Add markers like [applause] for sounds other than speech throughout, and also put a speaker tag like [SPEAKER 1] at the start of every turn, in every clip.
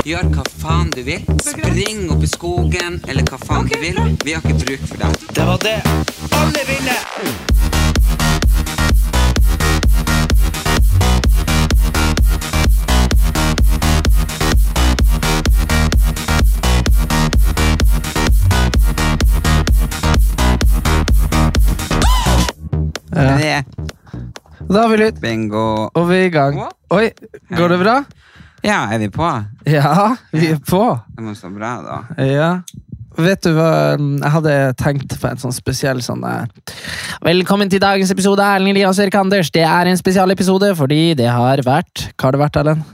[SPEAKER 1] Gjør hva faen du vil. Spring opp i skogen, eller hva faen du vil. Vi har ikke bruk for deg. Det var det alle ville! Ja.
[SPEAKER 2] Da er vi litt
[SPEAKER 1] Bingo.
[SPEAKER 2] over i gang. Oi, går det bra?
[SPEAKER 1] Ja, er vi på?
[SPEAKER 2] Ja, vi er på.
[SPEAKER 1] Det må stå bra, da.
[SPEAKER 2] Ja. Vet du hva mm, Jeg hadde tenkt på en sånn spesiell sånn eh, Velkommen til dagens episode av Erling Elias og Erik Anders. Det er en spesialepisode fordi det har vært Hva har det vært, Erlend?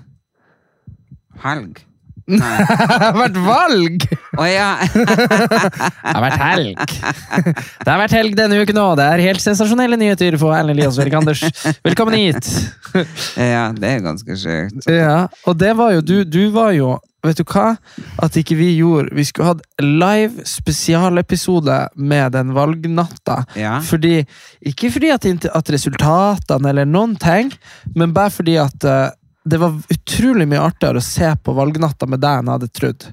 [SPEAKER 1] Helg? Nei.
[SPEAKER 2] Det har vært valg! [laughs] Det
[SPEAKER 1] Å ja. [laughs]
[SPEAKER 2] har vært helg. Det har vært helg denne uken òg. Det er helt sensasjonelle nyheter for Erlend Elias og Erik Anders. Velkommen hit.
[SPEAKER 1] ja, det er ganske sjukt.
[SPEAKER 2] [laughs] Ja, og det var jo du, du var jo Vet du hva? At ikke vi gjorde Vi skulle hatt live spesialepisode med den valgnatta.
[SPEAKER 1] Ja.
[SPEAKER 2] Fordi, ikke fordi at, inte- at resultatene eller noen ting, men bare fordi at eh, det var utrolig mye artigere å se på valgnatta med deg enn jeg hadde trodd.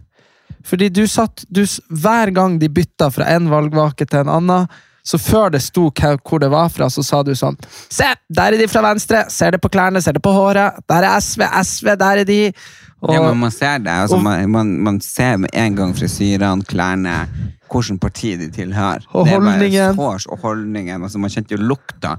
[SPEAKER 2] Fordi du satt du, s- Hver gang de bytta fra en valgvake til en annen, så før det sto hva- hvor det var fra, så sa du sånn Se, der er de fra venstre! Ser det på klærne, ser det på håret. Der er SV, SV, der er de! Og,
[SPEAKER 1] Ja, men man ser det. Altså,
[SPEAKER 2] og-
[SPEAKER 1] man, man, man ser med en gang frisyrene, klærne, hvilket parti de tilhører.
[SPEAKER 2] Og
[SPEAKER 1] Det
[SPEAKER 2] holdningen.
[SPEAKER 1] er bare sårs og holdningen. Altså, man kjente jo lukta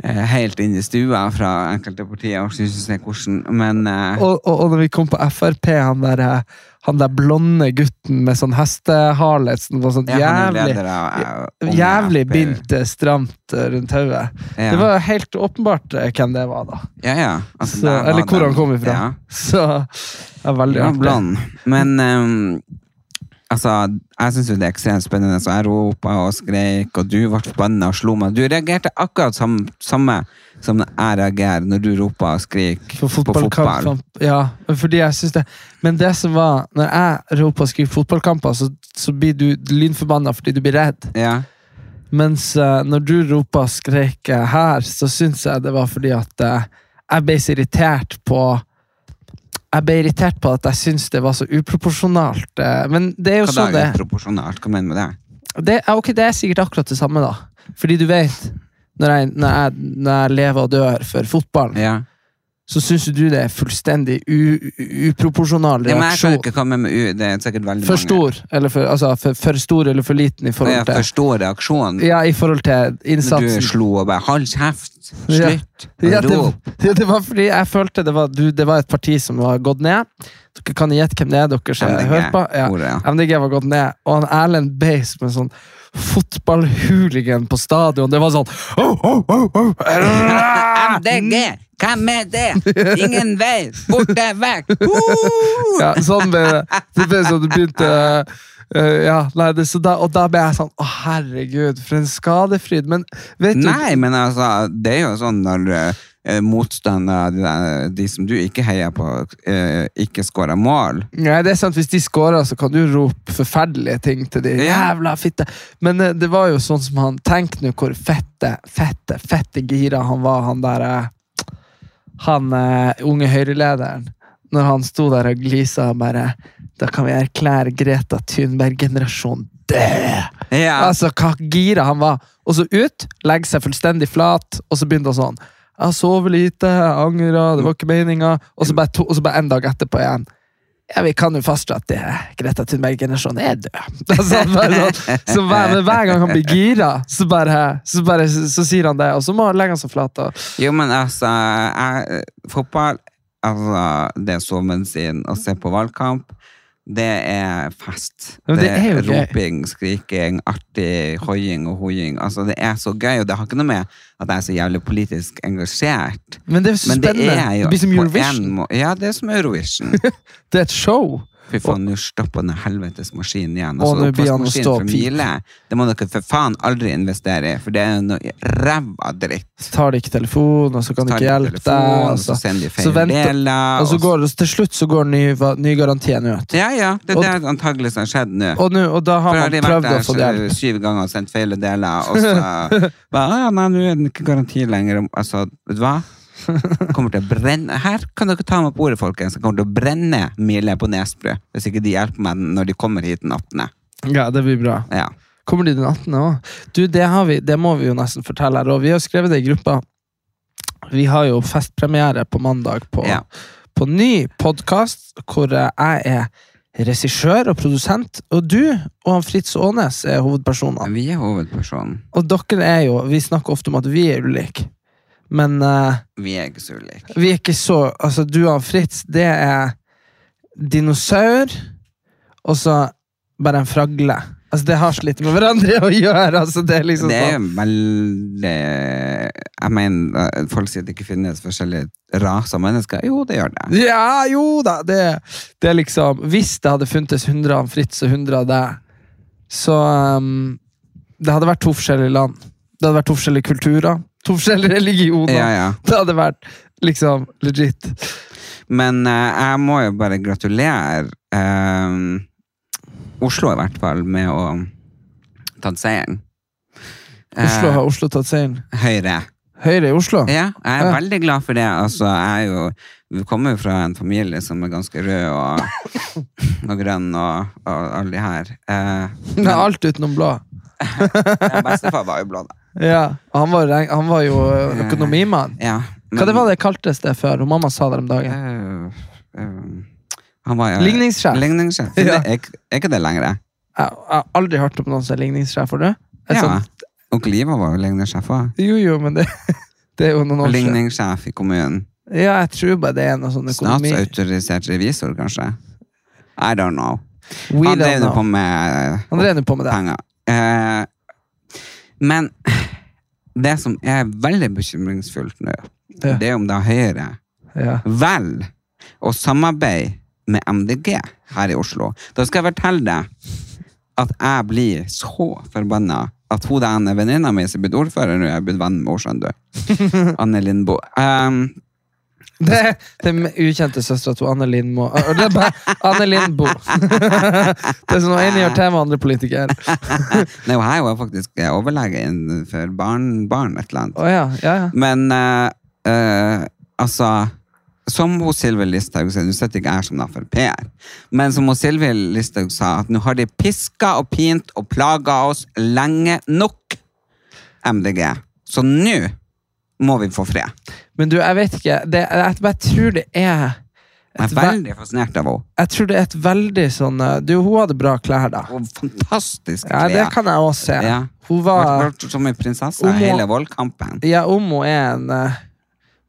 [SPEAKER 1] eh, helt inn i stua fra enkelte partier. Jeg orker ikke å se hvordan, men eh,
[SPEAKER 2] og, og, og når vi kom på Frp, han der, eh, han der blonde gutten med sånn hestehale som var sånn
[SPEAKER 1] jeg er
[SPEAKER 2] jævlig
[SPEAKER 1] leder av eh, Unge
[SPEAKER 2] Jævlig
[SPEAKER 1] FPU.
[SPEAKER 2] bindt eh, stramt eh, rundt hodet.
[SPEAKER 1] Ja.
[SPEAKER 2] Det var helt åpenbart eh, hvem det var, da.
[SPEAKER 1] Ja, ja. Altså,
[SPEAKER 2] Så,
[SPEAKER 1] der var
[SPEAKER 2] eller hvor
[SPEAKER 1] den.
[SPEAKER 2] han kom ifra.
[SPEAKER 1] Ja.
[SPEAKER 2] Så det er veldig
[SPEAKER 1] Ja,
[SPEAKER 2] artig.
[SPEAKER 1] blond. Men ehm, altså, jeg syns jo det er ekstremt spennende. Så jeg ropa og skreik, og du ble forbanna og slo meg. Du reagerte akkurat sam, samme som jeg reagerer når du roper og skriker
[SPEAKER 2] For
[SPEAKER 1] på
[SPEAKER 2] fotballkamp.
[SPEAKER 1] fotball.
[SPEAKER 2] Ja, fordi jeg synes det Men det som var Når jeg roper og skriver fotballkamper, så, så blir du lynforbanna fordi du blir redd.
[SPEAKER 1] Ja.
[SPEAKER 2] Mens eh, når du roper og skreker her, så syns jeg det var fordi at eh, jeg ble så irritert på Jeg ble irritert på at jeg syns det var så uproporsjonalt. eh, men det er jo
[SPEAKER 1] Hva da
[SPEAKER 2] sånn det
[SPEAKER 1] er proporsjonalt? Hva mener du med det?
[SPEAKER 2] det, ja, ok, det er sikkert akkurat det samme, da. Fordi du vet, når jeg, når jeg, når jeg lever og dør for fotballen,
[SPEAKER 1] Ja.
[SPEAKER 2] så syns jo du det er fullstendig u, u, uproporsjonal
[SPEAKER 1] Ja, men jeg
[SPEAKER 2] reaksjon.
[SPEAKER 1] skjønner ikke hva med med U. Det er sikkert veldig
[SPEAKER 2] For
[SPEAKER 1] mange.
[SPEAKER 2] stor, eller for, altså, for, for stor eller for liten i
[SPEAKER 1] Ja,
[SPEAKER 2] forhold
[SPEAKER 1] for
[SPEAKER 2] til,
[SPEAKER 1] stor reaksjon.
[SPEAKER 2] ja, i forhold til
[SPEAKER 1] Når du
[SPEAKER 2] innsatsen.
[SPEAKER 1] slo og bare 'hold kjeft',
[SPEAKER 2] Ja.
[SPEAKER 1] slutt,
[SPEAKER 2] Ja, det,
[SPEAKER 1] rop.
[SPEAKER 2] [laughs] ja, det var fordi jeg følte det var, du, det var et parti som var gått ned. Dere kan gjette hvem det er dere som
[SPEAKER 1] MDG,
[SPEAKER 2] hører på. Ja.
[SPEAKER 1] ordet, ja.
[SPEAKER 2] MDG var gått ned, og han Erlend Bay som en sånn fotballhooligan på stadion. Det var sånn oh, oh, oh, oh.
[SPEAKER 1] MDG, hvem er det? Ingen vei, borte vekk! Uh!
[SPEAKER 2] Ja, sånn ble det. Det ble sånn det begynte eh, ja, nei, det, så da, Og da ble jeg sånn Å, herregud, for en skadefryd. Men vet du
[SPEAKER 1] Nei, men altså, det er jo sånn når eh, motstandere, de, der- de som du ikke heier på, eh, ikke skårer mål.
[SPEAKER 2] Nei, det er sant. Hvis de scorer, så kan du rope forferdelige ting til de.
[SPEAKER 1] Ja.
[SPEAKER 2] Jævla fitte! Men eh, det var jo sånn som han Tenk nå hvor fette, fette, fette gira han var, han der eh, Han eh, unge Høyre-lederen. Når han sto der og glisa og bare Da kan vi erklære Greta Thunberg-generasjon død!
[SPEAKER 1] Ja,
[SPEAKER 2] Altså, hva gira han var! Og så ut, legge seg fullstendig flat, og så begynte han sånn. Jeg sover lite, jeg angrer, det var ikke meninga. Og så bare, to, og så bare en dag etterpå igjen. Ja, Vi kan jo fastslå at det, Greta Thunberg-generasjonen er død. [laughs] Altså, han bare sånn, så hver, men hver gang han blir gira, så, bare, så, bare, så, sier han det. Og så må han legge seg flat. Og,
[SPEAKER 1] jo, men altså, jeg, eh, fotball, altså, det er soven sin å se på valgkamp. Det er fest.
[SPEAKER 2] Ja, men det er jo gøy.
[SPEAKER 1] roping, skriking, artig, hoiing og hoiing. Altså, det er så gøy, og det har ikke noe med at jeg er så jævlig politisk engasjert.
[SPEAKER 2] men det er jo så
[SPEAKER 1] Men det
[SPEAKER 2] spennende.
[SPEAKER 1] er
[SPEAKER 2] Det,
[SPEAKER 1] jo
[SPEAKER 2] blir som
[SPEAKER 1] på en
[SPEAKER 2] Eurovision. [laughs]
[SPEAKER 1] må- Ja, det er som Eurovision.
[SPEAKER 2] Det er et show.
[SPEAKER 1] Fy faen, nå stopper den helvetes maskinen igjen.
[SPEAKER 2] Og
[SPEAKER 1] Altså,
[SPEAKER 2] nå blir han å
[SPEAKER 1] oppvaskmaskinen
[SPEAKER 2] stå
[SPEAKER 1] fra
[SPEAKER 2] og pipe.
[SPEAKER 1] Miele, det må dere for faen aldri investere i, for det er noe ræva dritt.
[SPEAKER 2] Så tar de ikke telefonen, og så kan de
[SPEAKER 1] Tar
[SPEAKER 2] ikke
[SPEAKER 1] de
[SPEAKER 2] hjelpe deg.
[SPEAKER 1] telefonen,
[SPEAKER 2] og
[SPEAKER 1] Så
[SPEAKER 2] så-
[SPEAKER 1] sender de
[SPEAKER 2] så
[SPEAKER 1] feil
[SPEAKER 2] venter-
[SPEAKER 1] deler.
[SPEAKER 2] Og så
[SPEAKER 1] og-
[SPEAKER 2] går det, til slutt så går ny, va- ny garantien ut.
[SPEAKER 1] Ja, ja. Det
[SPEAKER 2] Og-
[SPEAKER 1] er det antagelig som har skjedd nå.
[SPEAKER 2] Og, nå- og da har
[SPEAKER 1] For
[SPEAKER 2] man
[SPEAKER 1] har de vært
[SPEAKER 2] prøvd å
[SPEAKER 1] der
[SPEAKER 2] få det hjelp.
[SPEAKER 1] så- syv ganger og sendt feil deler, og
[SPEAKER 2] [laughs]
[SPEAKER 1] så bare, «Å ja, Nei, nå er den ikke garanti lenger. om- Altså, vet du hva? Kommer til å brenne Her kan dere ta meg på ordet, folkens. Jeg kommer til å brenne Mille på Nesbru hvis ikke de hjelper meg når de kommer hit den 18.
[SPEAKER 2] Ja, det blir bra.
[SPEAKER 1] Ja.
[SPEAKER 2] Kommer de den 18. òg? Du, det, har vi, det må vi jo nesten fortelle her, og vi har skrevet det i gruppa. Vi har jo festpremiere på mandag på,
[SPEAKER 1] Ja.
[SPEAKER 2] på ny podkast, hvor eh, jeg er regissør og produsent, og du og han Fritz Aanes er hovedpersonene.
[SPEAKER 1] Vi er hovedpersonen.
[SPEAKER 2] Og dere er jo Vi snakker ofte om at vi er ulike, men eh,
[SPEAKER 1] Vi er ikke så ulike.
[SPEAKER 2] vi er ikke så Altså, du og han Fritz, det er dinosaur, og så bare en fragle. Altså, det har så lite med hverandre å gjøre. Altså, det er liksom
[SPEAKER 1] Det er
[SPEAKER 2] sånn.
[SPEAKER 1] jo veldig Jeg mener, eh, folk sier at det ikke finnes forskjellige raser av mennesker. Jo, det gjør det.
[SPEAKER 2] Ja, jo da! Det, det er liksom Hvis det hadde funtes 100 av han Fritz og 100 av deg, så um, Det hadde vært to forskjellige land. Det hadde vært to forskjellige kulturer. To forskjellige religioner.
[SPEAKER 1] Ja, ja.
[SPEAKER 2] Det hadde vært liksom legit.
[SPEAKER 1] Men eh, jeg må jo bare gratulere eh, Oslo i hvert fall med å tatt seieren. Eh,
[SPEAKER 2] Oslo har Oslo tatt seieren.
[SPEAKER 1] Høyre.
[SPEAKER 2] Høyre i Oslo.
[SPEAKER 1] Ja, jeg er
[SPEAKER 2] Ja.
[SPEAKER 1] veldig glad for det. Altså, jeg er jo, vi kommer jo fra en familie som er ganske rød og, og grønn og, og alle de her.
[SPEAKER 2] [laughs]
[SPEAKER 1] Eh,
[SPEAKER 2] Nei,
[SPEAKER 1] [laughs]
[SPEAKER 2] alt utenom blå.
[SPEAKER 1] ja, bestefar var jo blå, da.
[SPEAKER 2] Ja, og han var, reg- han var jo eh, økonomimann.
[SPEAKER 1] Ja,
[SPEAKER 2] Hva det var det kaltes det før? Og mamma sa det om dagen.
[SPEAKER 1] Eh, eh, han var jo
[SPEAKER 2] Ligningssjef.
[SPEAKER 1] Ligningssjef. Det,
[SPEAKER 2] Ja.
[SPEAKER 1] er, ikke- er ikke det lenger?
[SPEAKER 2] Jeg jeg har aldri hørt om noen som er ligningssjef. Har du? En
[SPEAKER 1] Ja.
[SPEAKER 2] sånn-
[SPEAKER 1] Onkel Ivar var jo ligningssjef òg.
[SPEAKER 2] Jo, jo, men det, [laughs] det er jo noen år siden.
[SPEAKER 1] Ligningssjef i kommunen.
[SPEAKER 2] Ja, jeg tror bare det er noe sånn økonomi.
[SPEAKER 1] Statsautorisert revisor, kanskje? I don't know.
[SPEAKER 2] We
[SPEAKER 1] Han
[SPEAKER 2] don't
[SPEAKER 1] drev nå
[SPEAKER 2] know.
[SPEAKER 1] på med eh,
[SPEAKER 2] Han drev nå på med det.
[SPEAKER 1] penger. Eh, men det som er veldig bekymringsfullt nå,
[SPEAKER 2] Ja.
[SPEAKER 1] det er om det er Høyre
[SPEAKER 2] Ja.
[SPEAKER 1] vel å samarbeide med MDG her i Oslo. Da skal jeg fortelle deg at jeg blir så forbanna at hun der ene venninna mi som er blitt ordfører nå, jeg er blitt venn med henne, skjønner du. Anne Lindboe. Um,
[SPEAKER 2] Det, det er med- ukjente søstera til Anne Lindmo. Å, Det er bare Anne Lindbo. [laughs] Det er sånn en gjør til med andre politikere.
[SPEAKER 1] Nei, og her var faktisk eh, overlege innenfor barn, barn et eller annet.
[SPEAKER 2] Å ja, ja, ja.
[SPEAKER 1] Men eh, eh, altså Som hun Sylvi Listhaug sa, nå sitter ikke jeg som en Frp-er, men som hun Sylvi Listhaug sa, at nå har de piska og pint og plaga oss lenge nok, MDG. Så nå må vi få fred.
[SPEAKER 2] Men du, jeg vet ikke. Det, jeg bare tror det er
[SPEAKER 1] Jeg
[SPEAKER 2] et
[SPEAKER 1] er
[SPEAKER 2] ve-
[SPEAKER 1] veldig fascinert av henne.
[SPEAKER 2] Jeg tror det er et veldig sånn eh, Du, hun hadde bra klær, da.
[SPEAKER 1] Hun har fantastiske
[SPEAKER 2] Ja,
[SPEAKER 1] klær.
[SPEAKER 2] det kan jeg òg se.
[SPEAKER 1] Ja.
[SPEAKER 2] Hun
[SPEAKER 1] Hun har
[SPEAKER 2] var
[SPEAKER 1] vært som en prinsesse
[SPEAKER 2] Hun må-
[SPEAKER 1] hele valgkampen.
[SPEAKER 2] Ja, om hun er en eh,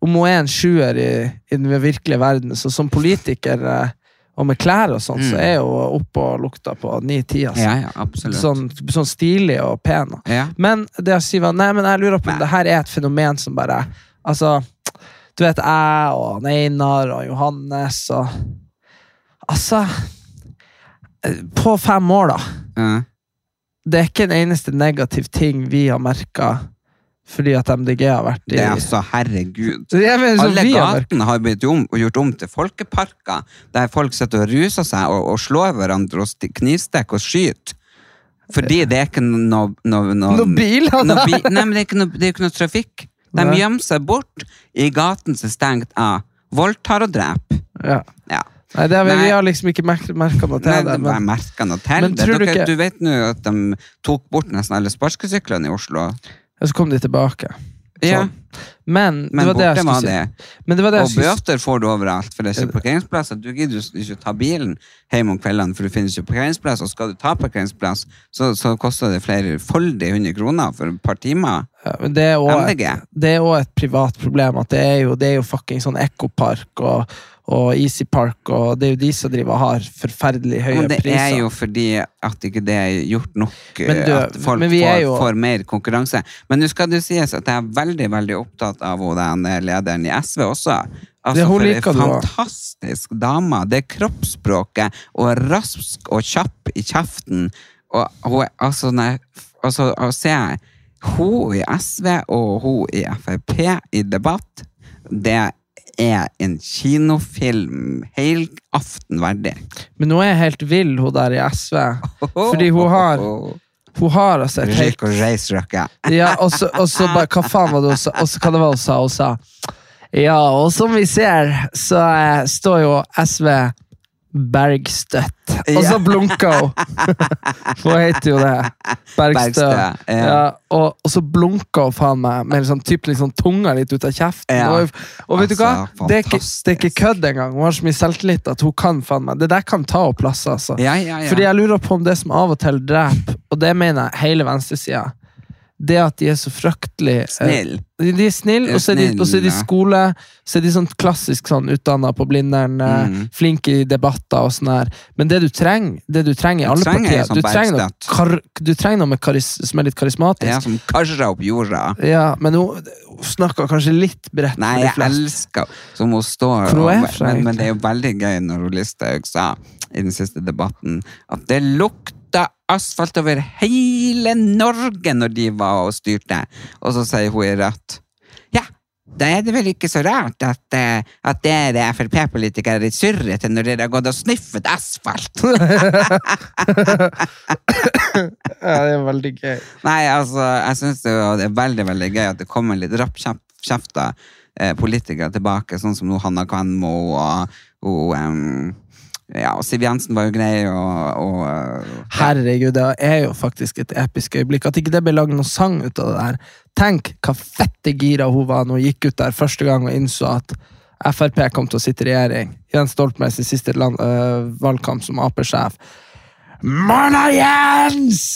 [SPEAKER 2] Om hun er en sjuer i, i den virkelige verden, så som politiker eh, og med klær og sånn, så er hun oppe og lukta på ni-ti, altså.
[SPEAKER 1] Mm. Ja, ja, absolutt.
[SPEAKER 2] sånn, sånn stilig og pen. og-
[SPEAKER 1] Ja.
[SPEAKER 2] Men det å si var Nei, men jeg lurer på om det her er et fenomen som bare Altså, du vet jeg og han Einar og Johannes og Altså eh, På fem år, da.
[SPEAKER 1] Ja. eh,
[SPEAKER 2] det er ikke en eneste negativ ting vi har merka fordi at MDG har vært i
[SPEAKER 1] Det er altså, herregud.
[SPEAKER 2] Jeg mener, som
[SPEAKER 1] Alle
[SPEAKER 2] sånn vi har merket.
[SPEAKER 1] gatene har blitt om, og gjort om til folkeparker, der folk sitter og ruser seg og, og slår hverandre og sti- knivstikker og skyter. Fordi det er ikke noe Noe no,
[SPEAKER 2] Noe bil, da.
[SPEAKER 1] noe bi- Nei, men det er ikke noe, det er ikke noe trafikk. De
[SPEAKER 2] Nei.
[SPEAKER 1] gjemmer seg bort i gaten som er stengt av. Voldtar og dreper.
[SPEAKER 2] Ja.
[SPEAKER 1] Ja.
[SPEAKER 2] Nei, det har vi,
[SPEAKER 1] Nei.
[SPEAKER 2] vi har liksom ikke merka noe
[SPEAKER 1] Nei,
[SPEAKER 2] til
[SPEAKER 1] det
[SPEAKER 2] det.
[SPEAKER 1] var
[SPEAKER 2] Men,
[SPEAKER 1] merkende å telle
[SPEAKER 2] Men
[SPEAKER 1] det.
[SPEAKER 2] tror du
[SPEAKER 1] Dere,
[SPEAKER 2] ikke-
[SPEAKER 1] Du vet nå at de tok bort nesten alle sparkesyklene i Oslo.
[SPEAKER 2] og så kom de tilbake.
[SPEAKER 1] Ja,
[SPEAKER 2] Sånn. Men det
[SPEAKER 1] men
[SPEAKER 2] var det jeg
[SPEAKER 1] borte
[SPEAKER 2] skulle
[SPEAKER 1] var
[SPEAKER 2] si.
[SPEAKER 1] det.
[SPEAKER 2] Men det var det jeg
[SPEAKER 1] Og
[SPEAKER 2] skulle si.
[SPEAKER 1] bøter får du overalt, for det er ikke parkeringsplasser. Du gidder jo ikke ta bilen hjem om kveldene, for det finnes ikke parkeringsplass. Og skal du ta parkeringsplass, så, så koster det flere foldige 100 kroner for et par timer.
[SPEAKER 2] Ja, men Det er også-
[SPEAKER 1] MDG.
[SPEAKER 2] det er òg et privat problem. at Det er jo, det er jo fucking sånn Ekopark og, og Easy Park, og det er jo de som driver og har forferdelig høye
[SPEAKER 1] Men det
[SPEAKER 2] priser.
[SPEAKER 1] er jo fordi at ikke det er gjort nok, eh,
[SPEAKER 2] Men du-
[SPEAKER 1] at folk
[SPEAKER 2] men vi er
[SPEAKER 1] får,
[SPEAKER 2] jo-
[SPEAKER 1] får mer konkurranse. Men nå skal det sies at jeg er veldig veldig opptatt av hun den lederen i eh, SV også. Altså,
[SPEAKER 2] hun
[SPEAKER 1] for ei
[SPEAKER 2] liker du også.
[SPEAKER 1] fantastisk dame. Det er kroppsspråket og rask og kjapp i kjeften. Og hun er altså nei, f- altså, og ser jeg hun i SV og hun i Frp i debatt, det er en kinofilm helaften verdig.
[SPEAKER 2] Men hun er helt vill, hun der
[SPEAKER 1] [laughs]
[SPEAKER 2] i SV. Fordi hun har, hun har altså et helt
[SPEAKER 1] Røyk og reis, Røkke.
[SPEAKER 2] Ja, og så, og så bare, hva faen var det hun sa? Og så hva det var hun sa? Hun sa Ja, og som vi ser, så eh, står jo SV Bergstøtt. Og så
[SPEAKER 1] Ja.
[SPEAKER 2] blunka
[SPEAKER 1] [laughs]
[SPEAKER 2] hun! For hun heter jo det. Bergstø.
[SPEAKER 1] Bergstø, ja.
[SPEAKER 2] Ja, og, og så blunka hun faen meg med liksom, typ, liksom, tunga litt ut av kjeften.
[SPEAKER 1] Ja.
[SPEAKER 2] Og, og vet du hva?
[SPEAKER 1] Altså,
[SPEAKER 2] Det er, ikke, det er ikke
[SPEAKER 1] fantastisk.
[SPEAKER 2] kødd engang. Hun har så mye selvtillit at hun kan faen meg. Det der kan ta henne plasser, altså.
[SPEAKER 1] Ja, Ah, ja, ja.
[SPEAKER 2] Fordi jeg lurer på om det som av og til dreper, og det mener jeg hele venstresida, det at de er så fryktelig eh,
[SPEAKER 1] Snill.
[SPEAKER 2] De de er snille,
[SPEAKER 1] Ja,
[SPEAKER 2] og så er de, og så er de
[SPEAKER 1] snille.
[SPEAKER 2] skole, så er de sånn klassisk sånn utdanna på Blindern, eh,
[SPEAKER 1] Mm.
[SPEAKER 2] flinke i debatter og sånn der. Men det du trenger, det du trenger i alle
[SPEAKER 1] trenger
[SPEAKER 2] partier
[SPEAKER 1] en sånn
[SPEAKER 2] du, trenger noe,
[SPEAKER 1] Bergstedt.
[SPEAKER 2] kar, du trenger noe med karis, som er litt karismatisk.
[SPEAKER 1] Ja,
[SPEAKER 2] Ja.
[SPEAKER 1] som karrer opp jorda.
[SPEAKER 2] men hun, hun snakker kanskje litt bredt
[SPEAKER 1] Nei,
[SPEAKER 2] for de
[SPEAKER 1] jeg
[SPEAKER 2] fleste.
[SPEAKER 1] elsker Som hun står
[SPEAKER 2] Hvor
[SPEAKER 1] og,
[SPEAKER 2] hun er fra,
[SPEAKER 1] men, men
[SPEAKER 2] egentlig.
[SPEAKER 1] det er jo veldig gøy når hun Listhaug sa i den siste debatten at det lukta asfalt over hele Norge når de var og styrte. Og så sier hun i Rødt Ja, da er det vel ikke så rart at, eh, at dere Frp-politikere er surrete når dere har gått og sniffet asfalt.
[SPEAKER 2] Ja, det er veldig gøy.
[SPEAKER 1] Nei, altså, jeg syns det jo- det er veldig veldig gøy at det kommer litt rappkjefta eh, politikere tilbake, sånn som nå Hanna Kvenmo og, og em, ja, og Siv Jensen var jo grei, og, og eh,
[SPEAKER 2] Herregud, det er jo faktisk et episk øyeblikk. At ikke det ble lagd noen sang ut av det der. Tenk hva fette gira hun var når hun gikk ut der første gang og innså at Frp kom til å sitte i regjering. Jens Stoltenberg sin siste land, øh, valgkamp som Ap-sjef. Marna Jens! [laughs]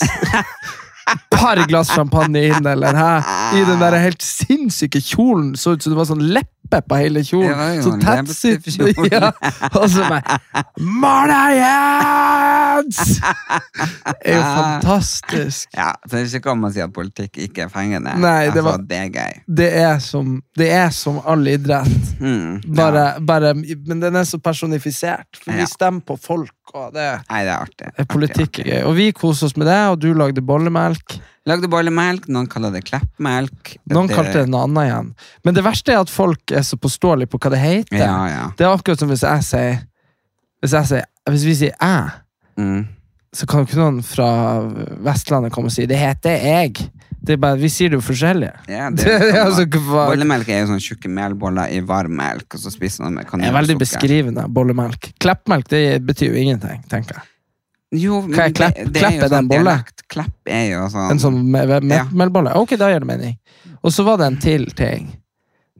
[SPEAKER 2] Par glass champagne inn, eller hæ? I den der helt sinnssyke kjolen. Så ut som det var sånn leppe på hele kjolen.
[SPEAKER 1] Ja, ja,
[SPEAKER 2] så tettsittende.
[SPEAKER 1] leppestiftkjolen.
[SPEAKER 2] [laughs] Ja. Og så bare Marna Jens! Det er jo fantastisk.
[SPEAKER 1] ja, så det er ikke godt å si at politikk ikke er fengende.
[SPEAKER 2] Nei, det
[SPEAKER 1] altså,
[SPEAKER 2] var-
[SPEAKER 1] det er gøy.
[SPEAKER 2] Det er som, det er som all idrett,
[SPEAKER 1] Mm,
[SPEAKER 2] bare,
[SPEAKER 1] ja.
[SPEAKER 2] bare, men den er så personifisert. For
[SPEAKER 1] Ja.
[SPEAKER 2] vi stemmer på folk, og det
[SPEAKER 1] Nei, det er artig.
[SPEAKER 2] er politikk er gøy. Og vi koser oss med det, og du lagde bollemelk.
[SPEAKER 1] Lagde bollemelk, noen kaller det kleppmelk.
[SPEAKER 2] Noen kalte det noe annet igjen. Men det verste er at folk er så påståelige på hva det heter.
[SPEAKER 1] Ja, ja.
[SPEAKER 2] Det er akkurat som hvis jeg sier Hvis, jeg sier, hvis vi sier 'æ',
[SPEAKER 1] Mm.
[SPEAKER 2] så kan jo ikke noen fra Vestlandet komme og si 'det heter jeg'. Det er bare, Vi sier det jo forskjellig. [laughs]
[SPEAKER 1] Ja,
[SPEAKER 2] Det,
[SPEAKER 1] det er jo
[SPEAKER 2] er
[SPEAKER 1] sånn,
[SPEAKER 2] altså, hva-
[SPEAKER 1] Bollemelk er jo sånn tjukke melboller i varm melk, og så spiser man med
[SPEAKER 2] Det
[SPEAKER 1] kanel
[SPEAKER 2] er
[SPEAKER 1] og
[SPEAKER 2] veldig
[SPEAKER 1] sukker.
[SPEAKER 2] beskrivende, bollemelk. Kleppmelk det betyr jo ingenting, tenker jeg.
[SPEAKER 1] Jo, men
[SPEAKER 2] er klepp?
[SPEAKER 1] det, det er jo
[SPEAKER 2] Klepp er det en
[SPEAKER 1] sånn
[SPEAKER 2] bolle?
[SPEAKER 1] dialekt. Klepp er jo sånn,
[SPEAKER 2] En sånn me me
[SPEAKER 1] Ja.
[SPEAKER 2] melbolle. Ok, da gir det mening. Og så var det en til ting.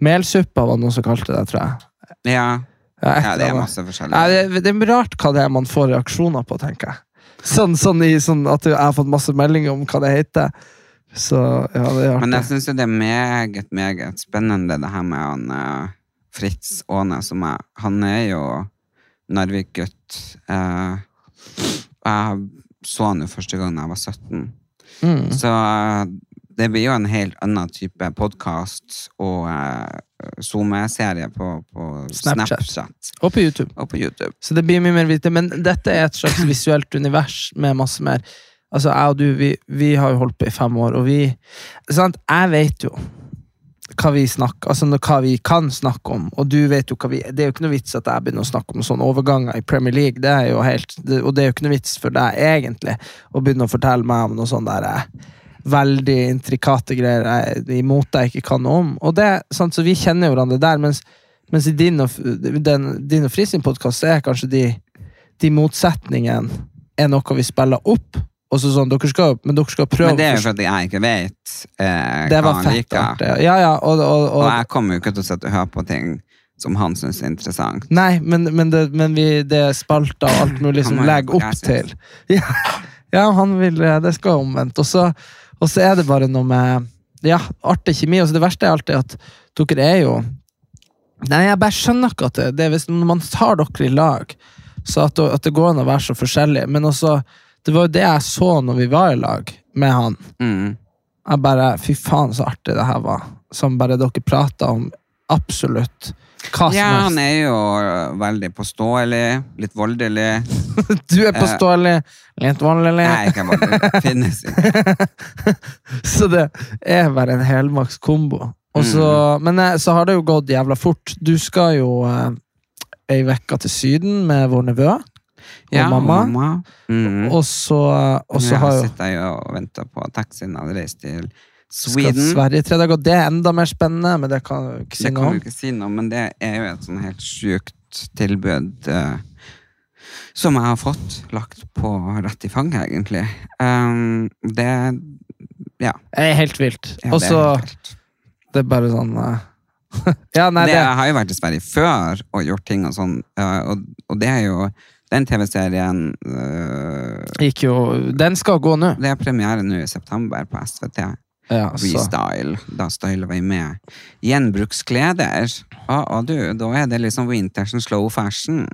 [SPEAKER 2] Melsuppa var noen som kalte det, tror jeg.
[SPEAKER 1] ja,
[SPEAKER 2] et
[SPEAKER 1] ja, det
[SPEAKER 2] eller
[SPEAKER 1] er
[SPEAKER 2] annet.
[SPEAKER 1] masse forskjellig.
[SPEAKER 2] Nei, det, det er rart hva det er man får reaksjoner på, tenker jeg. Sånn, sånn, i, sånn at jeg har fått masse meldinger om hva det heter. Så ja, det er
[SPEAKER 1] Men jeg
[SPEAKER 2] artig.
[SPEAKER 1] syns jo det er meget, meget spennende, det her med han eh, Fritz Aane, som er Han er jo Narvik-gutt. eh, og jeg så han jo første gang da jeg var 17.
[SPEAKER 2] Mm.
[SPEAKER 1] Så eh, det blir jo en helt annen type podkast og eh, SoMe-serie på, på
[SPEAKER 2] Snapchat.
[SPEAKER 1] Snapchat.
[SPEAKER 2] Og på YouTube.
[SPEAKER 1] og på YouTube.
[SPEAKER 2] Så det blir mye mer vittig. Men dette er et slags visuelt univers med masse mer. Altså, jeg og du, vi, vi har jo holdt på i fem år, og vi sant? Jeg vet jo hva vi snakker, altså nå- hva vi kan snakke om, og du vet jo hva vi Det er jo ikke noe vits at jeg begynner å snakke om sånne overganger i Premier League, det er jo helt, det, og det er jo ikke noe vits for deg, egentlig, å begynne å fortelle meg om noe sånn der eh, veldig intrikate greier jeg er imot deg ikke kan noe om. Og det, sant? Så vi kjenner jo hverandre der, mens, mens i din og, f- den, din og Fri sin podkast er kanskje de, de motsetningene er noe vi spiller opp, og så sånn, dere skal, men dere skal prøve
[SPEAKER 1] Men det er
[SPEAKER 2] å
[SPEAKER 1] jo
[SPEAKER 2] forstå-
[SPEAKER 1] fordi jeg ikke vet eh,
[SPEAKER 2] det
[SPEAKER 1] hva
[SPEAKER 2] var
[SPEAKER 1] han
[SPEAKER 2] fett
[SPEAKER 1] liker.
[SPEAKER 2] artig. Ja, ja, og, og,
[SPEAKER 1] Og
[SPEAKER 2] og,
[SPEAKER 1] jeg kommer jo ikke til å sitte og høre på ting som han syns er interessant.
[SPEAKER 2] Nei, men, men, det, men vi, det er spalter og alt mulig som
[SPEAKER 1] Han må gjøre
[SPEAKER 2] legger
[SPEAKER 1] hva
[SPEAKER 2] opp
[SPEAKER 1] jeg
[SPEAKER 2] til.
[SPEAKER 1] synes.
[SPEAKER 2] [laughs] Ja, ja han vil eh, Det skal omvendt. Og så, og så er det bare noe med Ja, artig kjemi. Og så det verste er alltid at dere er jo Nei, jeg bare skjønner ikke at det, det er hvis når man tar dere i lag, så at, at det går an å være så forskjellig. Men også Det var jo det jeg så når vi var i lag med han.
[SPEAKER 1] Mm.
[SPEAKER 2] Jeg bare Fy faen, så artig det her var. Som bare dere prata om absolutt Hva som
[SPEAKER 1] Ja, han
[SPEAKER 2] helst.
[SPEAKER 1] er jo veldig påståelig, litt voldelig.
[SPEAKER 2] Du er påståelig, litt voldelig.
[SPEAKER 1] Eh. Nei, ikke
[SPEAKER 2] [laughs]
[SPEAKER 1] voldelig. Finnes ikke.
[SPEAKER 2] Så det er bare en helmaks kombo. Og
[SPEAKER 1] Mm.
[SPEAKER 2] så- Men eh, så har det jo gått jævla fort. Du skal jo eh, ei uke til Syden med vår nevø og
[SPEAKER 1] Ja,
[SPEAKER 2] mamma.
[SPEAKER 1] Mhm.
[SPEAKER 2] Og så, eh, og så
[SPEAKER 1] ja,
[SPEAKER 2] har jo
[SPEAKER 1] sitter jeg jo og venter på taxien jeg hadde reist til
[SPEAKER 2] skal til
[SPEAKER 1] Sweden.
[SPEAKER 2] Sverige i tre dager. og Det er enda mer spennende, men det kan jeg jo ikke si
[SPEAKER 1] Det
[SPEAKER 2] noe
[SPEAKER 1] kan
[SPEAKER 2] om.
[SPEAKER 1] du ikke si noe om, men det er jo et sånn helt sjukt tilbud eh, som jeg har fått lagt på rett i fanget, egentlig. Um, det Ja.
[SPEAKER 2] Det er helt vilt.
[SPEAKER 1] ja,
[SPEAKER 2] Og
[SPEAKER 1] det er
[SPEAKER 2] så
[SPEAKER 1] helt vilt.
[SPEAKER 2] Det er bare sånn eh, [laughs] Ja, nei,
[SPEAKER 1] det,
[SPEAKER 2] det
[SPEAKER 1] jeg har jo vært i Sverige før og gjort ting og sånn, eh, og, og det er jo den TV-serien eh,
[SPEAKER 2] gikk jo Den skal gå nå.
[SPEAKER 1] Det er premiere nå i september på SVT.
[SPEAKER 2] Ja, så.
[SPEAKER 1] Restyle. Da styler vi med gjenbrukskleder. Å, å, du, da er det liksom wintersen slow fashion.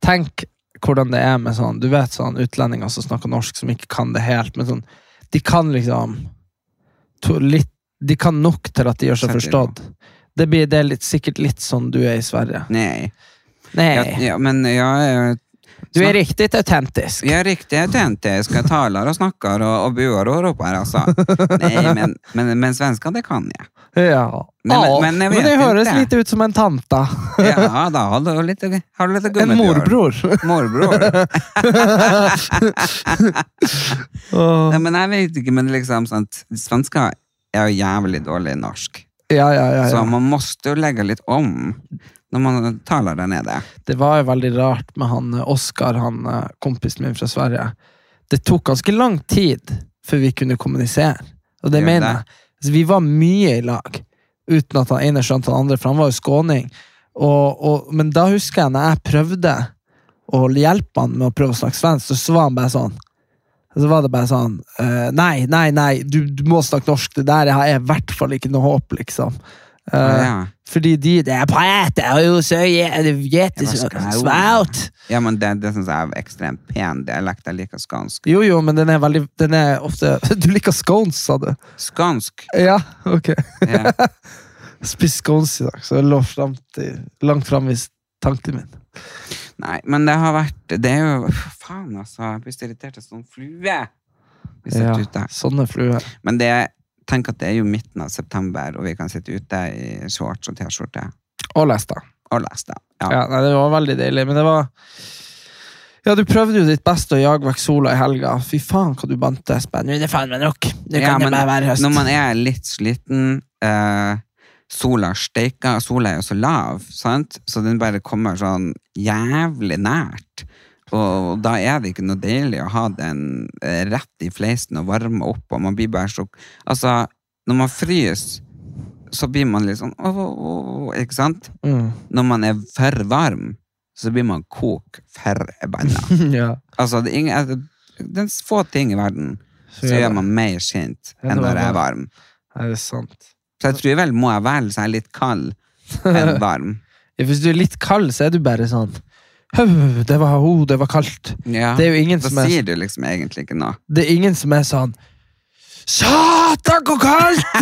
[SPEAKER 2] Tenk hvordan det er med sånn Du vet sånn utlendinger som snakker norsk, som ikke kan det helt, men sånn De kan liksom to, litt, De kan nok til at de gjør seg
[SPEAKER 1] Setter i gang.
[SPEAKER 2] forstått. Det blir det er litt, sikkert litt sånn du er i Sverige.
[SPEAKER 1] Nei. Ja,
[SPEAKER 2] Nei,
[SPEAKER 1] ja, men jeg er
[SPEAKER 2] du er riktig autentisk.
[SPEAKER 1] Jeg er riktig autentisk. Jeg taler og snakker og, og buer og roper, altså. Nei, men, men, men svenska, det kan jeg.
[SPEAKER 2] Ja.
[SPEAKER 1] Nei, men-
[SPEAKER 2] Ja,
[SPEAKER 1] men jeg
[SPEAKER 2] det
[SPEAKER 1] vet
[SPEAKER 2] høres
[SPEAKER 1] ikke.
[SPEAKER 2] litt ut som en tante.
[SPEAKER 1] Ja, da har du litt, har du litt
[SPEAKER 2] En
[SPEAKER 1] gummitur.
[SPEAKER 2] morbror.
[SPEAKER 1] Morbror.
[SPEAKER 2] Åh.
[SPEAKER 1] Nei, men jeg vet ikke, men liksom sånn at Svensker er jo jævlig dårlig i norsk.
[SPEAKER 2] Ja, ja, ja,
[SPEAKER 1] Så
[SPEAKER 2] ja.
[SPEAKER 1] man måtte jo legge litt om når man taler der nede.
[SPEAKER 2] Det var jo veldig rart med han eh, Oskar, han eh, kompisen min fra Sverige. Det tok ganske lang tid før vi kunne kommunisere. Og det
[SPEAKER 1] Gjør
[SPEAKER 2] mener
[SPEAKER 1] det?
[SPEAKER 2] jeg. Altså, vi var mye i lag, uten at han ene skjønte han andre, for han var jo skåning. Og, og, men da husker jeg når jeg prøvde å hjelpe han med å prøve å snakke svensk, så, så var han bare sånn så var det bare sånn eh, Nei, nei, nei, du, du må snakke norsk. Det der er i hvert fall ikke noe håp, liksom. Eh,
[SPEAKER 1] Ja.
[SPEAKER 2] fordi de der prater jo så jævlig
[SPEAKER 1] Ja, men det, det syns jeg er ekstremt pen dialekt. Jeg liker skånsk.
[SPEAKER 2] Jo, jo, men den er veldig Den er ofte [laughs] Du liker scones, sa du?
[SPEAKER 1] Skånsk!
[SPEAKER 2] Ja, ok.
[SPEAKER 1] Ja.
[SPEAKER 2] Spis scones i dag, så jeg lå frem til, langt fram i s- tanken min.
[SPEAKER 1] Nei, men det har vært Det er jo Faen, altså. Jeg blir så irritert av sånn flue. Vi sitter ute.
[SPEAKER 2] Sånne fluer.
[SPEAKER 1] Men det, tenk at det er jo midten av september, og vi kan sitte ute i shorts og T-skjorte
[SPEAKER 2] Og leste.
[SPEAKER 1] og lese. Ja.
[SPEAKER 2] Ja, nei, det var veldig deilig, men det var ja, Du prøvde jo ditt beste å jage vekk sola i helga. Fy faen, hva du bante, Espen. Nå er det faen meg nok. Nå kan
[SPEAKER 1] Ja,
[SPEAKER 2] det bare være høst.
[SPEAKER 1] når man er litt sliten eh, Sola steiker, sola er jo så lav, sant? så den bare kommer sånn jævlig nært. Og da er det ikke noe deilig å ha den eh, rett i fleisen og varme opp, og man blir bare så Altså, når man fryser, så blir man litt sånn åh, åh, åh, ikke sant?
[SPEAKER 2] mm.
[SPEAKER 1] Når man er for varm, så blir man kok forbanna.
[SPEAKER 2] [laughs] ja.
[SPEAKER 1] Altså, det er ingen, altså, det er få ting i verden
[SPEAKER 2] Så
[SPEAKER 1] så
[SPEAKER 2] gjør
[SPEAKER 1] gjør
[SPEAKER 2] det.
[SPEAKER 1] meg mer sint
[SPEAKER 2] Enn
[SPEAKER 1] enn
[SPEAKER 2] å
[SPEAKER 1] når
[SPEAKER 2] være
[SPEAKER 1] jeg er
[SPEAKER 2] varm.
[SPEAKER 1] varm.
[SPEAKER 2] Nei, det er sant.
[SPEAKER 1] Så jeg tror vel må jeg velge så jeg er litt kald [laughs] enn varm.
[SPEAKER 2] Ja, hvis du er litt kald, så er du bare sånn «Høv, Det var ho, det var kaldt.
[SPEAKER 1] Ja.
[SPEAKER 2] Det er jo ingen
[SPEAKER 1] Da
[SPEAKER 2] som er,
[SPEAKER 1] sier du liksom egentlig ikke noe.
[SPEAKER 2] det er, ingen som er sånn Satan, så kaldt!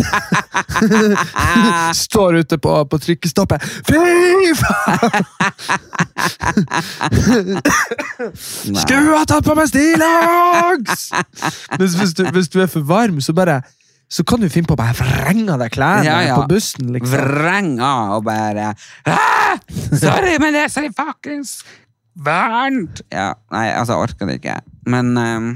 [SPEAKER 2] [laughs] Står ute på, på trykkestoppet. Fy faen!
[SPEAKER 1] Nei.
[SPEAKER 2] Skulle ha tatt på meg stillongs! Mens hvis du, hvis du er for varm, så bare så kan du finne på å bare vrenge av deg klærne
[SPEAKER 1] Ja, ja.
[SPEAKER 2] på bussen. liksom.
[SPEAKER 1] Vreng av og bare «Ah! Sorry, men det er så fuckings varmt! Ja, nei, altså, jeg orker det ikke. Men ehm,